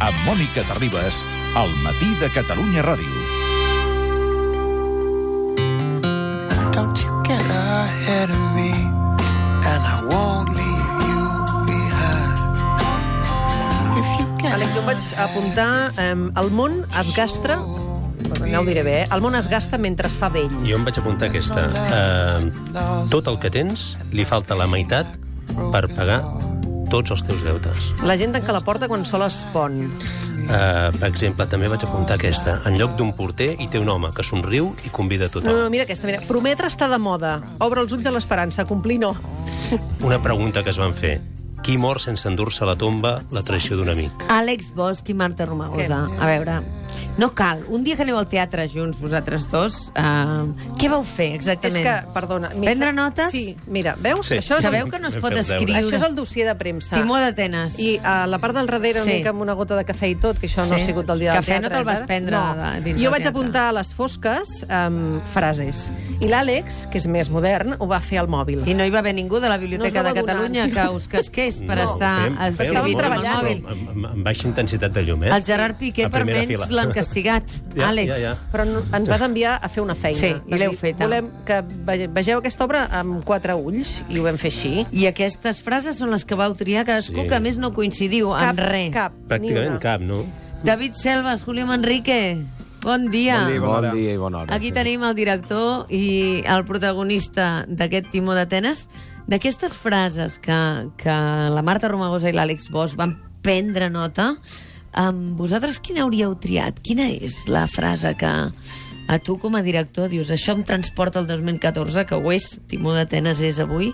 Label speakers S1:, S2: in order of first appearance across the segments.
S1: amb Mònica Terribas, al matí de Catalunya Ràdio.
S2: Don't you get ahead of me, and I won't leave you behind. If you get
S3: Àlex, jo em vaig apuntar... Eh, el món es gastra... No ho diré bé, eh? El món es gasta mentre es fa vell.
S4: Jo em vaig apuntar aquesta. Uh, tot el que tens, li falta la meitat per pagar tots els teus deutes.
S3: La gent tanca la porta quan sol es pon.
S4: Uh, per exemple, també vaig apuntar aquesta. En lloc d'un porter hi té un home que somriu i convida a
S3: No,
S4: tothom.
S3: no, mira aquesta, mira. Prometre està de moda. Obre els ulls de l'esperança, complir no.
S4: Una pregunta que es van fer. Qui mor sense endur-se a la tomba la traïció d'un amic?
S5: Àlex Bosch i Marta Romagosa. A veure, no cal. Un dia que aneu al teatre junts, vosaltres dos, eh, què vau fer
S3: És
S5: exactament?
S3: que, perdona... mira,
S5: Prendre notes?
S3: Sí, mira, veus?
S4: Sí.
S3: Això és,
S5: Sabeu que no es
S4: Vam
S5: pot
S4: fer els
S5: escriure.
S4: deures.
S3: això és el dossier de premsa.
S5: Timó d'Atenes.
S3: I a la part del darrere, sí.
S5: Sí.
S3: una mica amb una gota de cafè i tot, que això no ha
S5: Sí.
S3: sigut el dia del
S5: Cafè no
S3: teatre,
S5: te'l vas
S3: eh?
S5: prendre de- dins
S3: Jo
S5: del
S3: vaig
S5: teatre.
S3: apuntar a les fosques um, frases. I l'Àlex, que és més modern, ho va fer al mòbil.
S5: I no hi va haver ningú de la
S3: No
S5: Biblioteca
S3: es va
S5: de Catalunya
S3: adonar.
S5: que us casqués per estar
S4: fem- fem
S5: escrivint
S4: molt,
S5: amb el
S3: treballant.
S5: mòbil.
S4: però Amb, amb, amb baixa intensitat de llum, eh?
S5: El Gerard Piqué
S4: A
S5: per
S4: primera
S5: menys
S4: fila.
S5: l'han castigat.
S4: Ja,
S5: Àlex.
S4: ja, ja.
S3: Però no, ens vas enviar a fer una feina.
S5: Sí, i
S3: Vas dir,
S5: l'heu feta.
S3: Volem que vege- vegeu aquesta obra amb quatre ulls, i ho vam fer així.
S5: I aquestes frases són les que vau triar cadascú,
S4: Sí.
S5: que a més no coincidiu en res.
S3: Cap, ni
S4: Pràcticament
S3: una.
S4: cap, no?
S5: David Selvas, Julio Manrique, bon dia.
S6: Bon dia, i bona hora. Bon dia i bona hora.
S5: Aquí tenim el director i el protagonista d'aquest Timó d'Atenes. D'aquestes frases que, que la Marta Romagosa i l'Àlex Bosch van prendre nota, amb vosaltres quina hauríeu triat? Quina és la frase que a tu com a director dius això em transporta al 2014, que ho és, Timó d'Atenes és avui,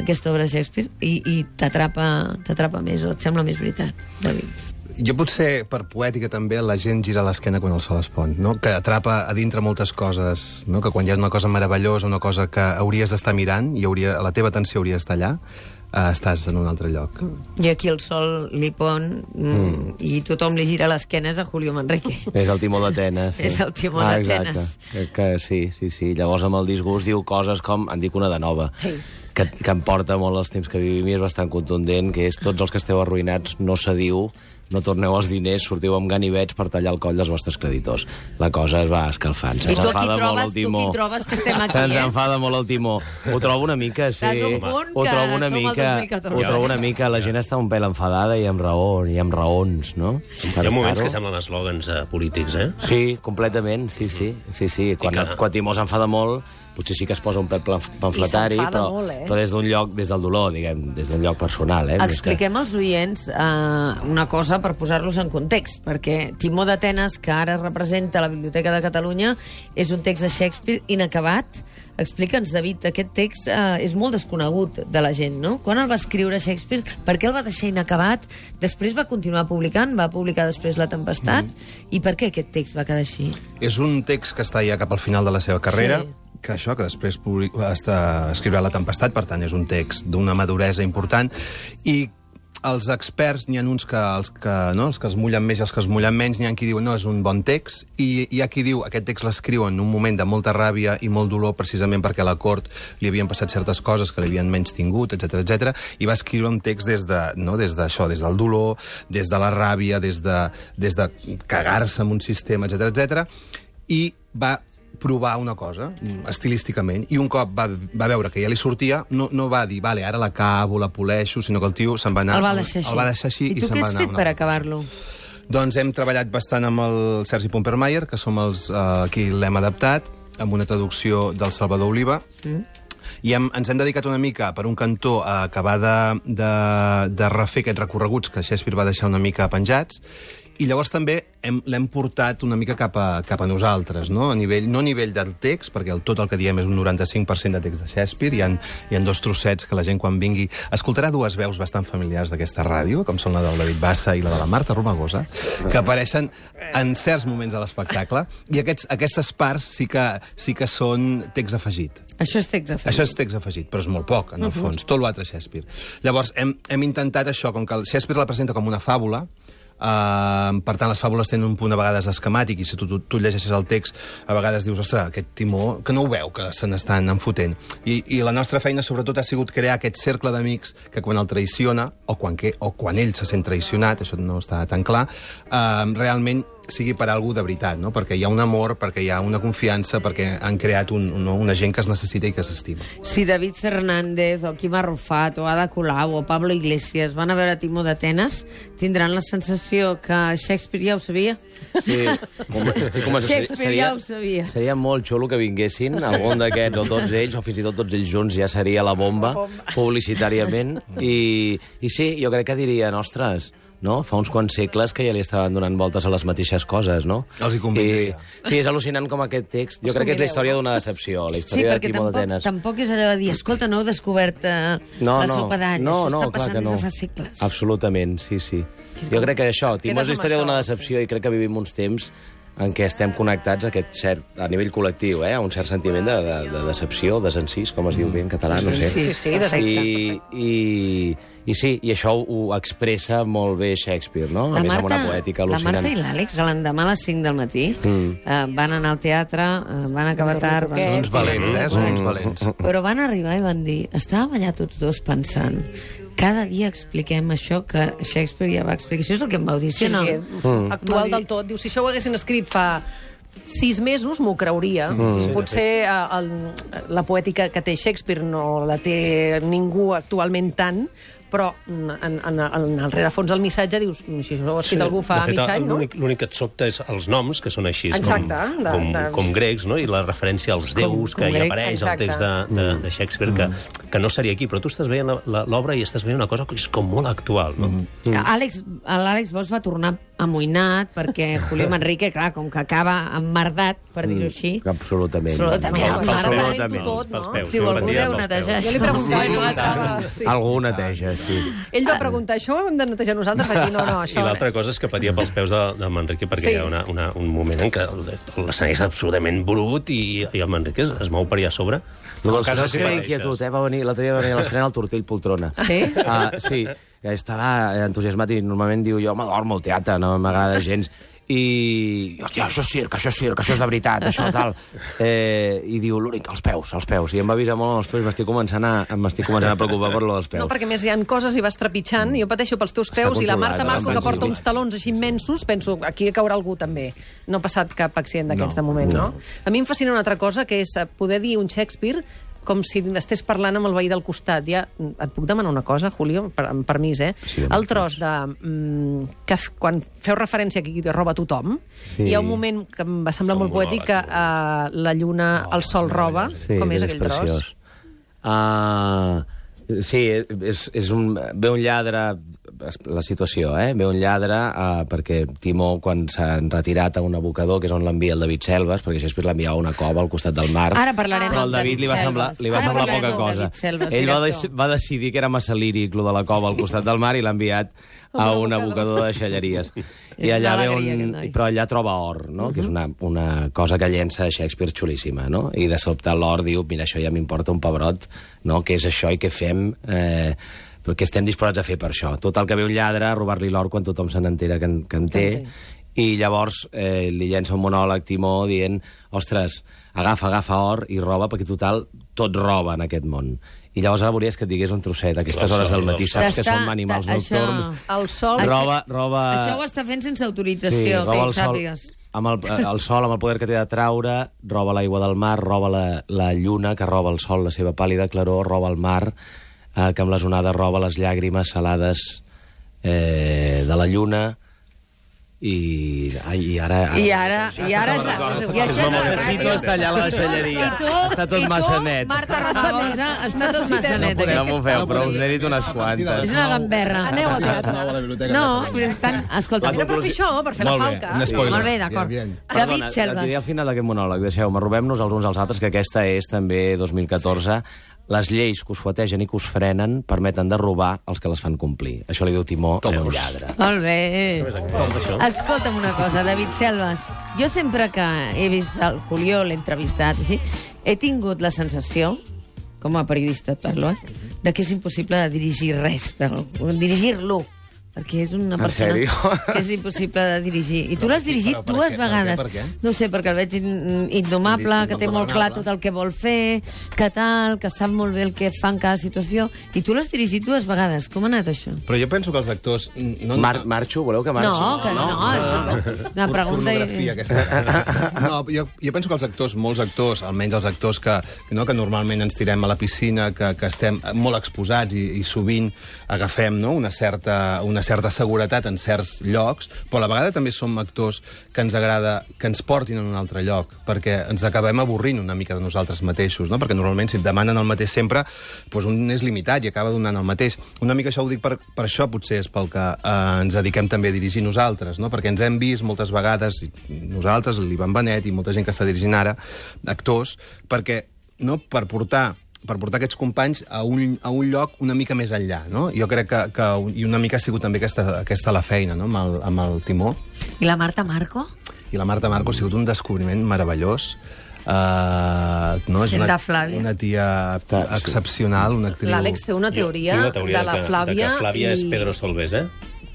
S5: aquesta obra de Shakespeare, i, i t'atrapa t'atrapa més o et sembla més veritat, David?
S6: Jo potser, per poètica també, la gent gira l'esquena quan el sol es pon, no? que atrapa a dintre moltes coses, no? que quan hi ha una cosa meravellosa, una cosa que hauries d'estar mirant, i hauria, la teva atenció hauria d'estar allà, eh, estàs en un altre lloc.
S5: I aquí el sol li pon mm. i tothom li gira l'esquena a Julio Manrique.
S7: És el Timó d'Atenes. Sí.
S5: És el Timó
S7: ah,
S5: d'Atenes.
S7: exacte. Que, que sí, sí, sí. Llavors, amb el disgust, diu coses com... En dic una de nova.
S3: Ei.
S7: Que, que em porta molt els temps que vivim i és bastant contundent, que és tots els que esteu arruïnats, no cediu, no torneu els diners, sortiu amb ganivets per tallar el coll dels vostres creditors. La cosa es va escalfant.
S5: I
S7: Se'ns
S5: tu aquí
S7: enfada molt
S5: trobes,
S7: el
S5: tu
S7: Timó.
S5: aquí trobes que estem aquí,
S7: Se'ns
S5: eh?
S7: enfada molt el Timó. Ho trobo una mica, sí.
S5: Estàs a un punt
S7: ho
S5: que
S7: trobo una
S5: som al
S7: mica,
S5: 2014.
S7: Ho trobo una mica. La gent està un pèl enfadada i amb raó, i amb raons, no?
S4: Hi ha moments
S7: Estar-ho.
S4: que semblen eslògans eh, polítics, eh?
S7: Sí, completament, sí, sí. sí, sí. Quan,
S4: que-
S7: quan Timó s'enfada molt, potser sí que es posa un pèl plan-
S3: I
S7: pamfletari,
S3: s'enfada
S7: però,
S3: molt, eh?
S7: però des d'un lloc, des del dolor, diguem, des d'un lloc personal. Eh? Més
S5: Expliquem als oients eh, una cosa per posar-los en context, perquè Timó d'Atenes, que ara representa la Biblioteca de Catalunya, és un text de Shakespeare inacabat. Explica'ns, David, aquest text eh, és molt desconegut de la gent, no? Quan el va escriure Shakespeare, per què el va deixar inacabat? Després va continuar publicant, va publicar després La Tempestat,
S6: Mm.
S5: i per què aquest text va quedar així?
S6: És un text que està ja cap al final de la seva carrera,
S5: Sí.
S6: sí. que això, que després public... està... escriurà La Tempestat, per tant, és un text d'una maduresa important, i els experts, n'hi ha uns que, els que, no, els que es mullen més i els que es mullen menys, n'hi ha qui diu no, és un bon text, i hi ha qui diu aquest text l'escriu en un moment de molta ràbia i molt dolor precisament perquè a la cort li havien passat certes coses que li havien menys tingut, etc etc. i va escriure un text des de, no, des d'això, des del dolor, des de la ràbia, des de, des de cagar-se en un sistema, etc etc i va provar una cosa, mm, estilísticament, i un cop va, va veure que ja li sortia, no, no va dir, vale, ara la cavo, la poleixo, sinó que el tio se'n va anar...
S5: el va deixar així.
S6: El va deixar així i,
S5: I tu
S6: se'n
S5: què
S6: va
S5: has
S6: anar.
S5: fet
S6: una
S5: per
S6: altra.
S5: acabar-lo?
S6: Doncs hem treballat bastant amb el Sergi Pompermayer, que som els eh, qui l'hem adaptat, amb una traducció del Salvador Oliva. Mm. I hem, ens hem dedicat una mica, per un cantó, a acabar de, de, de refer aquests recorreguts que Shakespeare va deixar una mica penjats, i llavors també hem- l'hem portat una mica cap a, cap a nosaltres, no? A nivell, no a nivell del text, perquè el, tot el que diem és un 95% de text de Shakespeare, hi ha, hi ha dos trossets que la gent quan vingui... Escoltarà dues veus bastant familiars d'aquesta ràdio, com són la del David Bassa i la de la Marta Romagosa, que apareixen en certs moments de l'espectacle, i aquests, aquestes parts sí que, sí que són text afegit.
S5: Això és text a fer.
S6: Això és text afegit, però és molt poc, en el fons. Tot l'altre és Shakespeare. Llavors, hem, hem intentat això, com que el Shakespeare la presenta com una fàbula, Uh, per tant, les fàbules tenen un punt a vegades esquemàtic i si tu, tu, tu llegeixes el text a vegades dius, ostres, aquest timó, que no ho veu, que se n'estan enfotent. I, I la nostra feina, sobretot, ha sigut crear aquest cercle d'amics que quan el traiciona, o quan, què, o quan ell se sent traicionat, això no està tan clar, uh, realment sigui per algú de veritat, no? perquè hi ha un amor, perquè hi ha una confiança, perquè han creat un, un, una gent que es necessita i que s'estima.
S5: Si David Fernández o Quim Arrufat o Ada Colau o Pablo Iglesias van a veure Timó d'Atenes, tindran la sensació que Shakespeare ja ho sabia.
S7: Sí, com, estic convençut.
S5: Shakespeare ja ho sabia.
S7: Seria molt xulo que vinguessin, algun d'aquests, o tots ells, o fins i tot tots ells junts, ja seria la bomba, publicitàriament. I, I sí, jo crec que dirien, ostres, no? Fa uns quants segles que ja li estaven donant voltes a les mateixes coses, no?
S6: Els hi convindria.
S7: I, sí, és al·lucinant com aquest text. Jo crec que és la història d'una decepció, la
S5: Sí,
S7: història
S5: perquè
S7: de Timó
S5: tampoc,
S7: d'Atenes.
S5: tampoc és allò de dir, escolta, no heu descobert eh,
S7: No,
S5: la
S7: no,
S5: sopa d'all.
S7: no,
S5: Això
S7: no,
S5: està
S7: clar
S5: passant
S7: que no.
S5: des de fa segles.
S7: Absolutament, sí, sí. Jo crec que això, Timó és
S3: amb
S7: la història
S3: això,
S7: d'una
S3: sí.
S7: decepció i crec que vivim uns temps en què estem connectats a, aquest cert, a nivell col·lectiu, eh? a un cert sentiment de, de, de decepció, desencís, com es diu bé en català, no sé.
S3: Sí, sí, de sexe.
S7: I, i, I sí, i això ho expressa molt bé Shakespeare, no? A
S5: La
S7: més,
S5: Marta,
S7: amb una poètica
S5: la
S7: al·lucinant.
S5: Marta i l'Àlex, l'endemà a les 5 del matí, mm. eh, van anar al teatre, eh, van acabar tard... Van...
S6: Són uns valents, eh? Són uns valents.
S5: Però van arribar i van dir... Estàvem allà tots dos pensant... Cada dia expliquem això que Shakespeare ja va explicar. Això és el que em vau dir, sí,
S3: Sí,
S5: o no?
S3: sí. Mm. Actual del tot. Diu, si això ho haguessin escrit fa sis mesos m'ho creuria. Mm. Potser eh, el, la poètica que té Shakespeare no la té ningú actualment tant, però en, en, en, en el rerefons del missatge dius, "Mm, si això ho ha escrit sí. algú fa
S4: de fet,
S3: mig any, no?
S4: l'únic- L'únic que et sobta és els noms, que són així,
S3: Exacte,
S4: com,
S3: de-
S4: com,
S3: de-
S4: com grecs, no? i la referència als déus
S5: com
S4: que hi
S5: grecs,
S4: apareix al
S3: exacte.
S4: text de, de, de Shakespeare, que, que no seria aquí, però tu estàs veient la- la- l'obra i estàs veient una cosa que és com molt actual. No?
S5: Àlex, L'Àlex Bosch va tornar amoïnat perquè Julio Manrique, clar, com que acaba emmerdat, per dir-ho així...
S7: Absolutament.
S5: Absolutament.
S7: Al-
S5: Absolutament.
S7: Absolutament.
S3: Tot, no?
S4: Pels peus.
S5: Diu, el
S4: van tirar
S5: podeu
S4: dels peus.
S5: netejar,
S3: Jo li preguntava, no, estava... Sí.
S7: Algú neteja, sí.
S3: Ell va preguntar, això ho hem de netejar nosaltres? Vaig dir, no, no,
S4: I
S3: això...
S4: l'altra cosa és que patia pels peus de, de Manrique perquè
S3: Sí.
S4: sí. hi ha una, una, un moment en què el- l'escenari és absolutament brut i, i el Manrique es, es mou per allà a sobre.
S7: Lo dels
S4: En casa
S7: casos
S4: si
S7: que era
S4: pateixes.
S7: inquietud, eh? Va venir, l'altre dia va venir a l'estrena al Tortell Poltrona.
S5: Sí?
S7: Ah, sí, que estava eh, entusiasmat i normalment diu jo m'adormo al teatre, no m'agrada gens. I, hòstia, això és circ, això és circ, això és de veritat, això tal. Eh, I diu, l'únic, els peus, els peus. I em va avisar molt els peus, m'estic començant, a, m'estic començant a preocupar per lo dels peus.
S3: No, perquè a més hi han coses i vas trepitjant, jo pateixo pels teus
S7: Està
S3: peus i Mm. la
S7: controlat,
S3: Marta
S7: eh?
S3: Marco que
S7: Està
S3: porta uns
S7: controlat.
S3: talons així immensos, penso, aquí caurà algú també. No ha passat cap accident d'aquests de moment, no. A mi em fascina una altra cosa, que és eh, poder dir un Shakespeare com si estés parlant amb el veí del costat. Ja, mm, et puc demanar una cosa, Julio? Per, amb permís, eh?
S7: Sí, demà.
S3: el tros de... Mm, que f- quan feu referència a qui roba tothom,
S7: Sí.
S3: hi ha un moment que em va semblar
S4: És un
S3: molt poètic que eh, la lluna, el sol roba. com és
S7: que
S3: aquell tros?
S7: Ah, sí, és, és un, ve un lladre, es- la situació, eh? Ve un lladre ah, perquè Timó, quan s'han retirat a un abocador, que és on l'envia el David Selves, perquè Shakespeare l'enviava a una cova al costat del mar...
S5: Ara parlarem
S7: Però
S5: del
S7: el David,
S5: David
S7: li va semblar,
S5: Selves.
S7: li va
S5: Ara
S7: semblar
S5: parlarem
S7: poca
S5: del
S7: cosa.
S5: David Selves,
S7: Ell va,
S5: director.
S7: dec- va decidir que era massa líric, lo de la cova al costat del mar, i l'ha enviat a un abocador de xalleries. I
S5: És
S7: allà
S5: una
S7: ve
S5: alegria,
S7: un...
S5: aquest noi.
S7: Però allà troba or, no?
S5: Mhm.
S7: que és una, una cosa que llença Shakespeare xulíssima. No? I de sobte l'or diu, mira, això ja m'importa un pebrot, no? què és això i què fem... Eh, però què estem disposats a fer per això. Tot el que ve un lladre, a robar-li l'or quan tothom se n'entera que, en, que en té, i llavors eh, li llença un monòleg Timó dient ostres, agafa, agafa or i roba perquè total tot roba en aquest món i llavors ara veuries que et digués un trosset a aquestes hores del matí saps que
S5: T'està-
S7: som animals
S5: t'està- això-
S7: nocturns
S3: El sol...
S7: roba, roba...
S5: Això ho està fent sense autorització, que ho
S7: el sol,
S5: sàpigues.
S7: amb el, eh, el sol, amb el poder que té de traure, roba l'aigua del mar, roba la, la lluna, que roba el sol, la seva pàl·lida claror, roba el mar, eh, que amb les onades roba les llàgrimes salades eh, de la lluna, i, ai, i ara... ara
S5: I ara... I ara... és la- I això és la
S7: Necessito
S5: ràdio.
S7: estar allà a la deixalleria.
S5: I tu,
S7: Està tot
S5: i tu,
S7: massa net.
S5: Marta Rassagosa, està tot massa net.
S7: No
S5: aquest.
S7: m'ho feu, però us n'he dit unes
S5: És
S7: quantes.
S5: una gamberra.
S3: Aneu a teatre.
S5: No, però estan... Escolta,
S3: Era per fer això, per fer la
S7: Molt bé.
S3: falca.
S6: Un spoiler.
S5: Molt bé, d'acord.
S6: Bien, bien.
S5: David
S7: Perdona, et diré
S5: Selves.
S7: al final d'aquest monòleg, deixeu-me, robem-nos els uns als altres, que aquesta és també 2014. Les lleis que us fuetegen i que us frenen permeten de robar els que les fan complir. Això li diu Timó a un lladre.
S5: Molt bé. Escolta'm una cosa, David Selves. Jo sempre que he vist el Julió, l'he entrevistat, i així, he tingut la sensació, com a periodista et parlo, eh, de que és impossible de dirigir res, de- dirigir-lo. perquè és una
S7: En
S5: persona
S7: sèrio?
S5: que és impossible de dirigir. I tu l'has dirigit
S6: però per
S5: dues
S6: què? Per què?
S5: vegades.
S6: Per què?
S5: No ho sé, perquè el veig in- indomable, que té molt clar tot el que vol fer, que tal, que sap molt bé el que fa en cada situació. I tu l'has dirigit dues vegades. Com ha anat això?
S6: Però jo penso que els actors... n- No,
S7: Mar marxo? Voleu que marxi?
S5: No, que no, no. Una pregunta...
S6: Pornografia, aquesta. No, jo, jo penso que els actors, molts actors, almenys els actors que, no, que normalment ens tirem a la piscina, que, que estem molt exposats i, i sovint agafem no, una, certa, una certa seguretat en certs llocs, però a la vegada també som actors que ens agrada que ens portin a un altre lloc, perquè ens acabem avorrint una mica de nosaltres mateixos, no? perquè normalment si et demanen el mateix sempre, doncs un és limitat i acaba donant el mateix. Una mica això ho dic per, per això, potser és pel que eh, ens dediquem també a dirigir nosaltres, no? perquè ens hem vist moltes vegades, i nosaltres, l'Ivan Benet i molta gent que està dirigint ara, actors, perquè no, per portar per portar aquests companys a un, a un lloc una mica més enllà, no? Jo crec que, que i una mica ha sigut també aquesta, aquesta la feina, no?, amb el, amb el Timó
S5: I la Marta Marco?
S6: i la Marta Marco ha sigut un descobriment meravellós. Uh, no, és
S5: Gent
S6: una,
S5: de Flàvia.
S6: una tia excepcional, una actriu...
S3: L'Àlex té una teoria,
S4: Jo tinc la teoria
S3: de la
S4: que,
S3: Flàvia...
S4: De que Flàvia és Pedro Solbes, eh?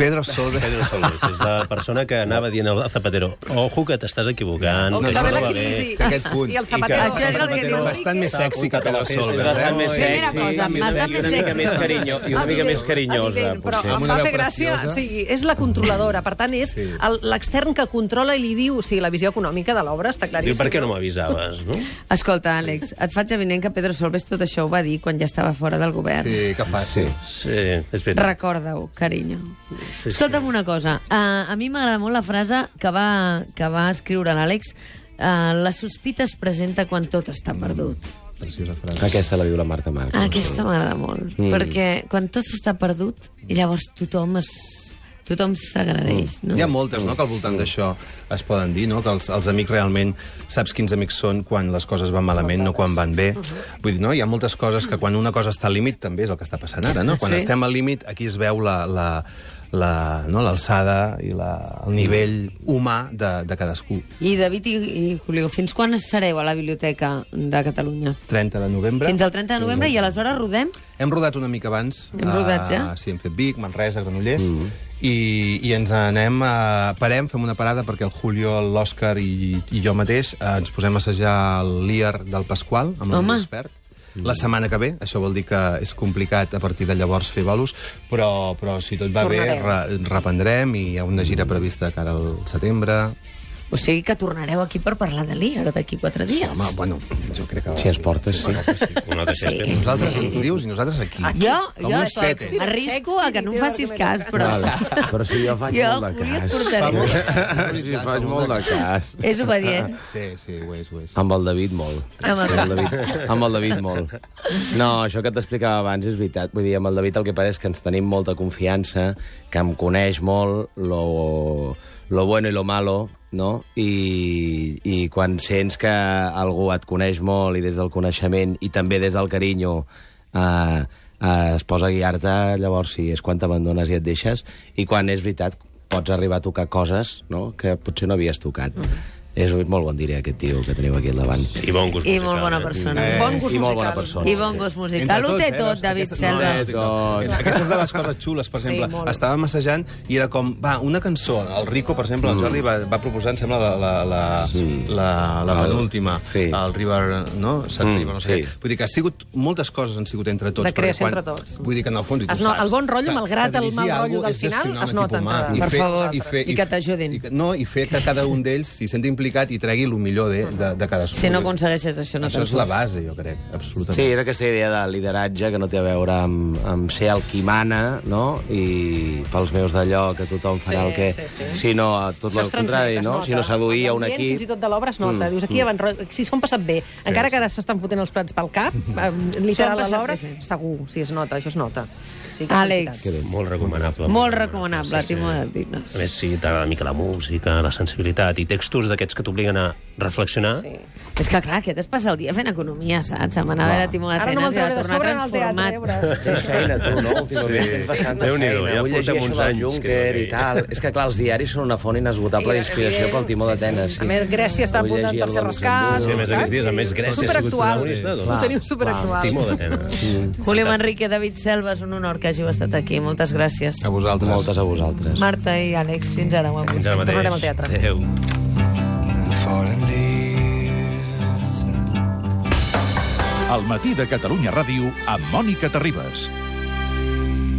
S6: Pedro Solbes.
S4: Pedro Solbes, és la persona que anava dient al Zapatero ojo que t'estàs equivocant,
S3: O que
S4: que això
S3: va
S6: no
S3: bé la
S4: no va
S3: crisi.
S4: bé.
S6: Té aquest punt.
S3: I el
S4: I
S3: Zapatero...
S5: Això és el que diu
S6: Bastant més sexy que Pedro Solbes,
S4: Bastant
S6: eh?
S4: més
S5: Primera
S4: sexy,
S5: cosa,
S4: més
S5: bastant
S4: sexy,
S5: més
S4: i una mica
S5: sexy.
S4: més carinyo, i una mica més carinyosa,
S3: evident, però
S4: potser.
S3: em
S6: Amb una
S3: va
S6: veu
S3: fer gràcia, o
S6: preciosa.
S3: sigui, és la controladora, per tant, és el- l'extern que controla i li diu, o sigui, la visió econòmica de l'obra està
S4: Diu,
S3: claríssima.
S4: per què no m'avisaves, no?
S5: Escolta, Àlex, et faig avinent que Pedro Solbes tot això ho va dir quan ja estava fora del govern.
S6: Sí, que fàcil. Sí.
S4: Sí, és veritat.
S5: Recorda-ho, carinyo.
S4: sí.
S5: Escolta'm una cosa. Uh, a mi m'agrada molt la frase que va, que va escriure l'Àlex. Uh, la sospita es presenta quan tot està perdut. Ah,
S6: Preciosa frase.
S7: doncs Aquesta la diu la Marta Marco.
S5: Aquesta m'agrada molt. Mm. Perquè quan tot està perdut, llavors tothom es... Tothom s'agradeix, no?
S6: Hi ha moltes, no?, que al voltant d'això es poden dir, no?, que els, els amics realment saps quins amics són quan les coses van malament, no quan van bé. Vull dir, no?, hi ha moltes coses que quan una cosa està al límit també és el que està passant ara, no? Quan
S5: Sí.
S6: estem al límit aquí es veu la... la la, no, l'alçada i la, el nivell humà de, de cadascú.
S5: I David i, i Julio, fins quan sereu a la Biblioteca de Catalunya?
S6: 30 de novembre.
S5: Fins al 30 de novembre i aleshores rodem?
S6: Hem rodat una mica abans.
S5: Hem rodat ja?
S6: Ah, sí, hem fet Vic, Manresa, Granollers...
S7: Mm.
S6: I, i ens anem, a, parem, fem una parada perquè el Julio, l'Òscar i, i jo mateix eh, ens posem a assajar el Lier del Pasqual amb
S5: Home.
S6: l'expert la setmana que ve, això vol dir que és complicat a partir de llavors fer bolos, però, però si tot va
S3: Tornarem.
S6: bé re, reprendrem i hi ha una gira prevista cara al setembre.
S5: O sigui que tornareu aquí per parlar de l'Iar d'aquí quatre dies.
S6: Home, bueno, jo crec que...
S7: Si ens portes, sí.
S4: Una altra xesca.
S5: Sí.
S6: Nosaltres ens dius i nosaltres aquí.
S5: Jo,
S6: Com
S5: Ah, jo
S6: uns setes.
S5: arrisco a que no em facis cas, però...
S7: eh? Vale. Però si jo faig
S5: Jo,
S7: molt de
S5: Julio, et
S7: cas.
S5: portaré.
S7: Sí, sí, faig molt de cas.
S5: És obedient.
S6: Ah, Sí, sí, ho és, ho és.
S7: Amb el David molt.
S5: Amb el
S7: Sí, amb, el David, amb el David molt. No, això que t'explicava abans és veritat. Vull dir, amb el David el que passa és que ens tenim molta confiança, que em coneix molt lo, lo bueno i lo malo, no? I, I quan sents que algú et coneix molt i des del coneixement i també des del carinyo eh, eh, es posa a guiar-te, llavors sí, és quan t'abandones i et deixes. I quan és veritat, pots arribar a tocar coses no? que potser no havies tocat.
S3: Mm.
S7: És molt bon diré aquest tio que teniu aquí al davant.
S4: I bon gust
S5: I
S4: musical,
S5: molt bona
S4: eh?
S5: persona.
S3: Bon gust
S7: I
S3: musical.
S7: molt bona persona.
S5: I bon gust musical. Ho
S7: eh,
S5: té tot,
S6: doncs,
S5: David
S6: aquestes-
S5: Selva.
S6: No, no, no, aquestes de les coses xules, per
S3: Sí,
S6: exemple.
S3: molt.
S6: Estàvem assajant i era com, va, una cançó. El Rico, per exemple,
S7: Mm.
S6: el Jordi va, va proposar, em sembla, la, la, la, la, la
S7: El-
S6: penúltima.
S7: sí.
S6: El River, no? Sant
S7: Mm,
S6: River, no sé.
S7: sí.
S6: què. Vull dir que ha sigut, moltes coses han sigut entre tots.
S3: De
S6: perquè
S3: creació entre tots.
S6: Vull dir que, en el fons, i tu
S3: Es no-
S6: saps
S3: el bon rotllo,
S6: que-
S3: malgrat
S6: que
S3: el mal
S6: dirigir
S3: rotllo
S6: algo
S3: del
S6: és gestionar
S3: final,
S6: un
S3: es
S6: equip
S3: nota
S6: humà.
S3: entre-
S6: I
S5: Per
S6: fer-
S5: favor, i que
S6: f-
S5: t'ajudin.
S6: i que- No, i fer que cada un d'ells s'hi senti implicat i tregui el millor de, de, de cadascú.
S5: Si no aconsegueixes això, no
S6: Això
S5: te'n
S6: és la
S5: surts.
S6: base, jo crec, absolutament.
S7: Sí, era aquesta idea de lideratge que no té a veure amb, amb ser el qui mana, no? I pels meus d'allò, que tothom farà
S3: Sí,
S7: el que...
S3: sí, sí.
S7: Sinó a tot
S3: Això
S7: el
S3: es transmet,
S7: contrari,
S3: es
S7: no?
S3: nota.
S7: Sinó seduir a un
S3: L'ambient, Fins
S7: equip...
S3: i tot de l'obra es nota.
S4: Mm.
S3: Dius, aquí van... ro- Si s'ho han passat bé, encara que ara s'estan fotent els prats pel cap,
S4: Mm.
S3: eh, literal a
S5: passat
S3: l'obra,
S5: bé, sí.
S3: segur, si es nota, això es nota. O sigui, que
S5: Àlex,
S3: felicitats.
S4: Molt recomanable.
S5: molt recomanable, Timo de
S4: A més, si t'agrada una mica la música, la sensibilitat i textos d'aquest d'aquests que t'obliguen a reflexionar. Sí.
S5: És que, clar, aquest es passa el dia fent economia, saps? Amb anar a veure Timó
S3: Ara no
S5: d'Atenes
S3: me'l
S5: i de
S3: trauré de
S5: tornar
S3: sobre en el teatre, ja
S5: transformat.
S3: veuràs.
S7: Sí, feina, tu, no? Últimament
S4: Sí.
S7: sí. tens bastanta
S4: Déu-n'hi-do,
S7: feina.
S4: ja
S7: Avui
S4: portem
S7: llegeixo
S4: uns
S7: la
S4: anys que no
S7: Juncker i
S4: veig.
S7: tal. És que, clar, els diaris són una font
S3: Sí,
S7: inesgotable d'inspiració
S3: evident.
S7: pel Timó d'Atenes.
S3: A més, Grècia està a
S7: Avui
S3: punt de
S7: llegia el
S3: tercer
S7: Luxemburg.
S3: rescat.
S4: Sí, a més,
S3: saps?
S4: aquests dies, a més, Grècia ha sigut
S3: Superactual.
S4: protagonista, doncs.
S3: Ho teniu superactual.
S4: Timó d'Atenes.
S5: Julio Manrique, David Selva, és un honor que hàgiu estat aquí. Moltes gràcies.
S6: A vosaltres.
S7: Moltes a vosaltres.
S5: Marta i Àlex, fins ara. Guapos.
S4: Fins ara mateix.
S3: Tornarem al teatre.
S4: Adéu.
S2: falling leaves
S1: Al matí de Catalunya Ràdio amb Mònica Terribas.